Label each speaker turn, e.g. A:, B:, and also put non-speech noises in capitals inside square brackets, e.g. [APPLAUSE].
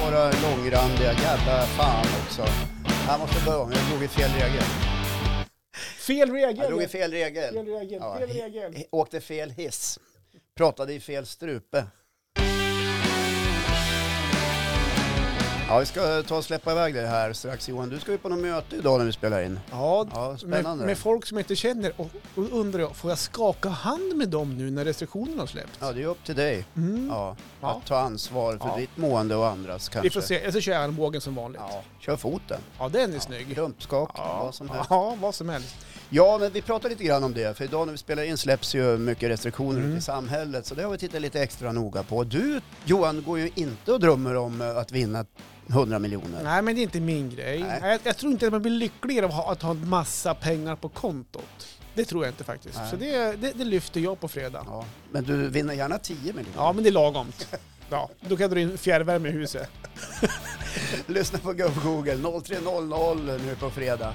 A: några långrandiga jävla fan också. Jag måste börja om, jag drog i fel regel.
B: Fel regel!
A: Jag drog i fel regel.
B: Fel regel, fel regel.
A: he- Åkte fel hiss. Pratade i fel strupe. Ja, vi ska ta och släppa iväg det här strax Johan. Du ska ju på något möte idag när vi spelar in.
B: Ja,
A: Ja,
B: med,
A: spännande.
B: med folk som jag inte känner. Och, och undrar jag, får jag skaka hand med dem nu när restriktionerna har släppt?
A: Ja, det är upp till dig. Ja, att
B: Mm. Ja.
A: ta ansvar för
B: Ja.
A: ditt mående och andras kanske.
B: Vi får se. Eller så kör jag armbågen som vanligt. Ja,
A: Ja, kör foten.
B: den är snygg.
A: Klumpskak,
B: Ja,
A: vad som helst.
B: ja, vad som helst.
A: Ja, men vi pratade lite grann om det, för idag när vi spelar in släpps ju mycket restriktioner ute i samhället, så det har vi tittat lite extra noga på. Du, Johan, går ju inte och drömmer om eh, att vinna 100 miljoner.
B: Nej, men det är inte min grej.
A: Nej.
B: Jag, jag tror inte att man blir lyckligare av att ha- att ha en massa pengar på kontot. Det tror jag inte faktiskt.
A: Nej.
B: Så det, det, det lyfter jag på fredag. Ja,
A: Ja, men du vinner gärna 10 miljoner. [LAUGHS]
B: men det är lagom. Ja, då kan jag dra in fjärrvärme i huset.
A: Lyssna på Go Google 03.00 nu på fredag.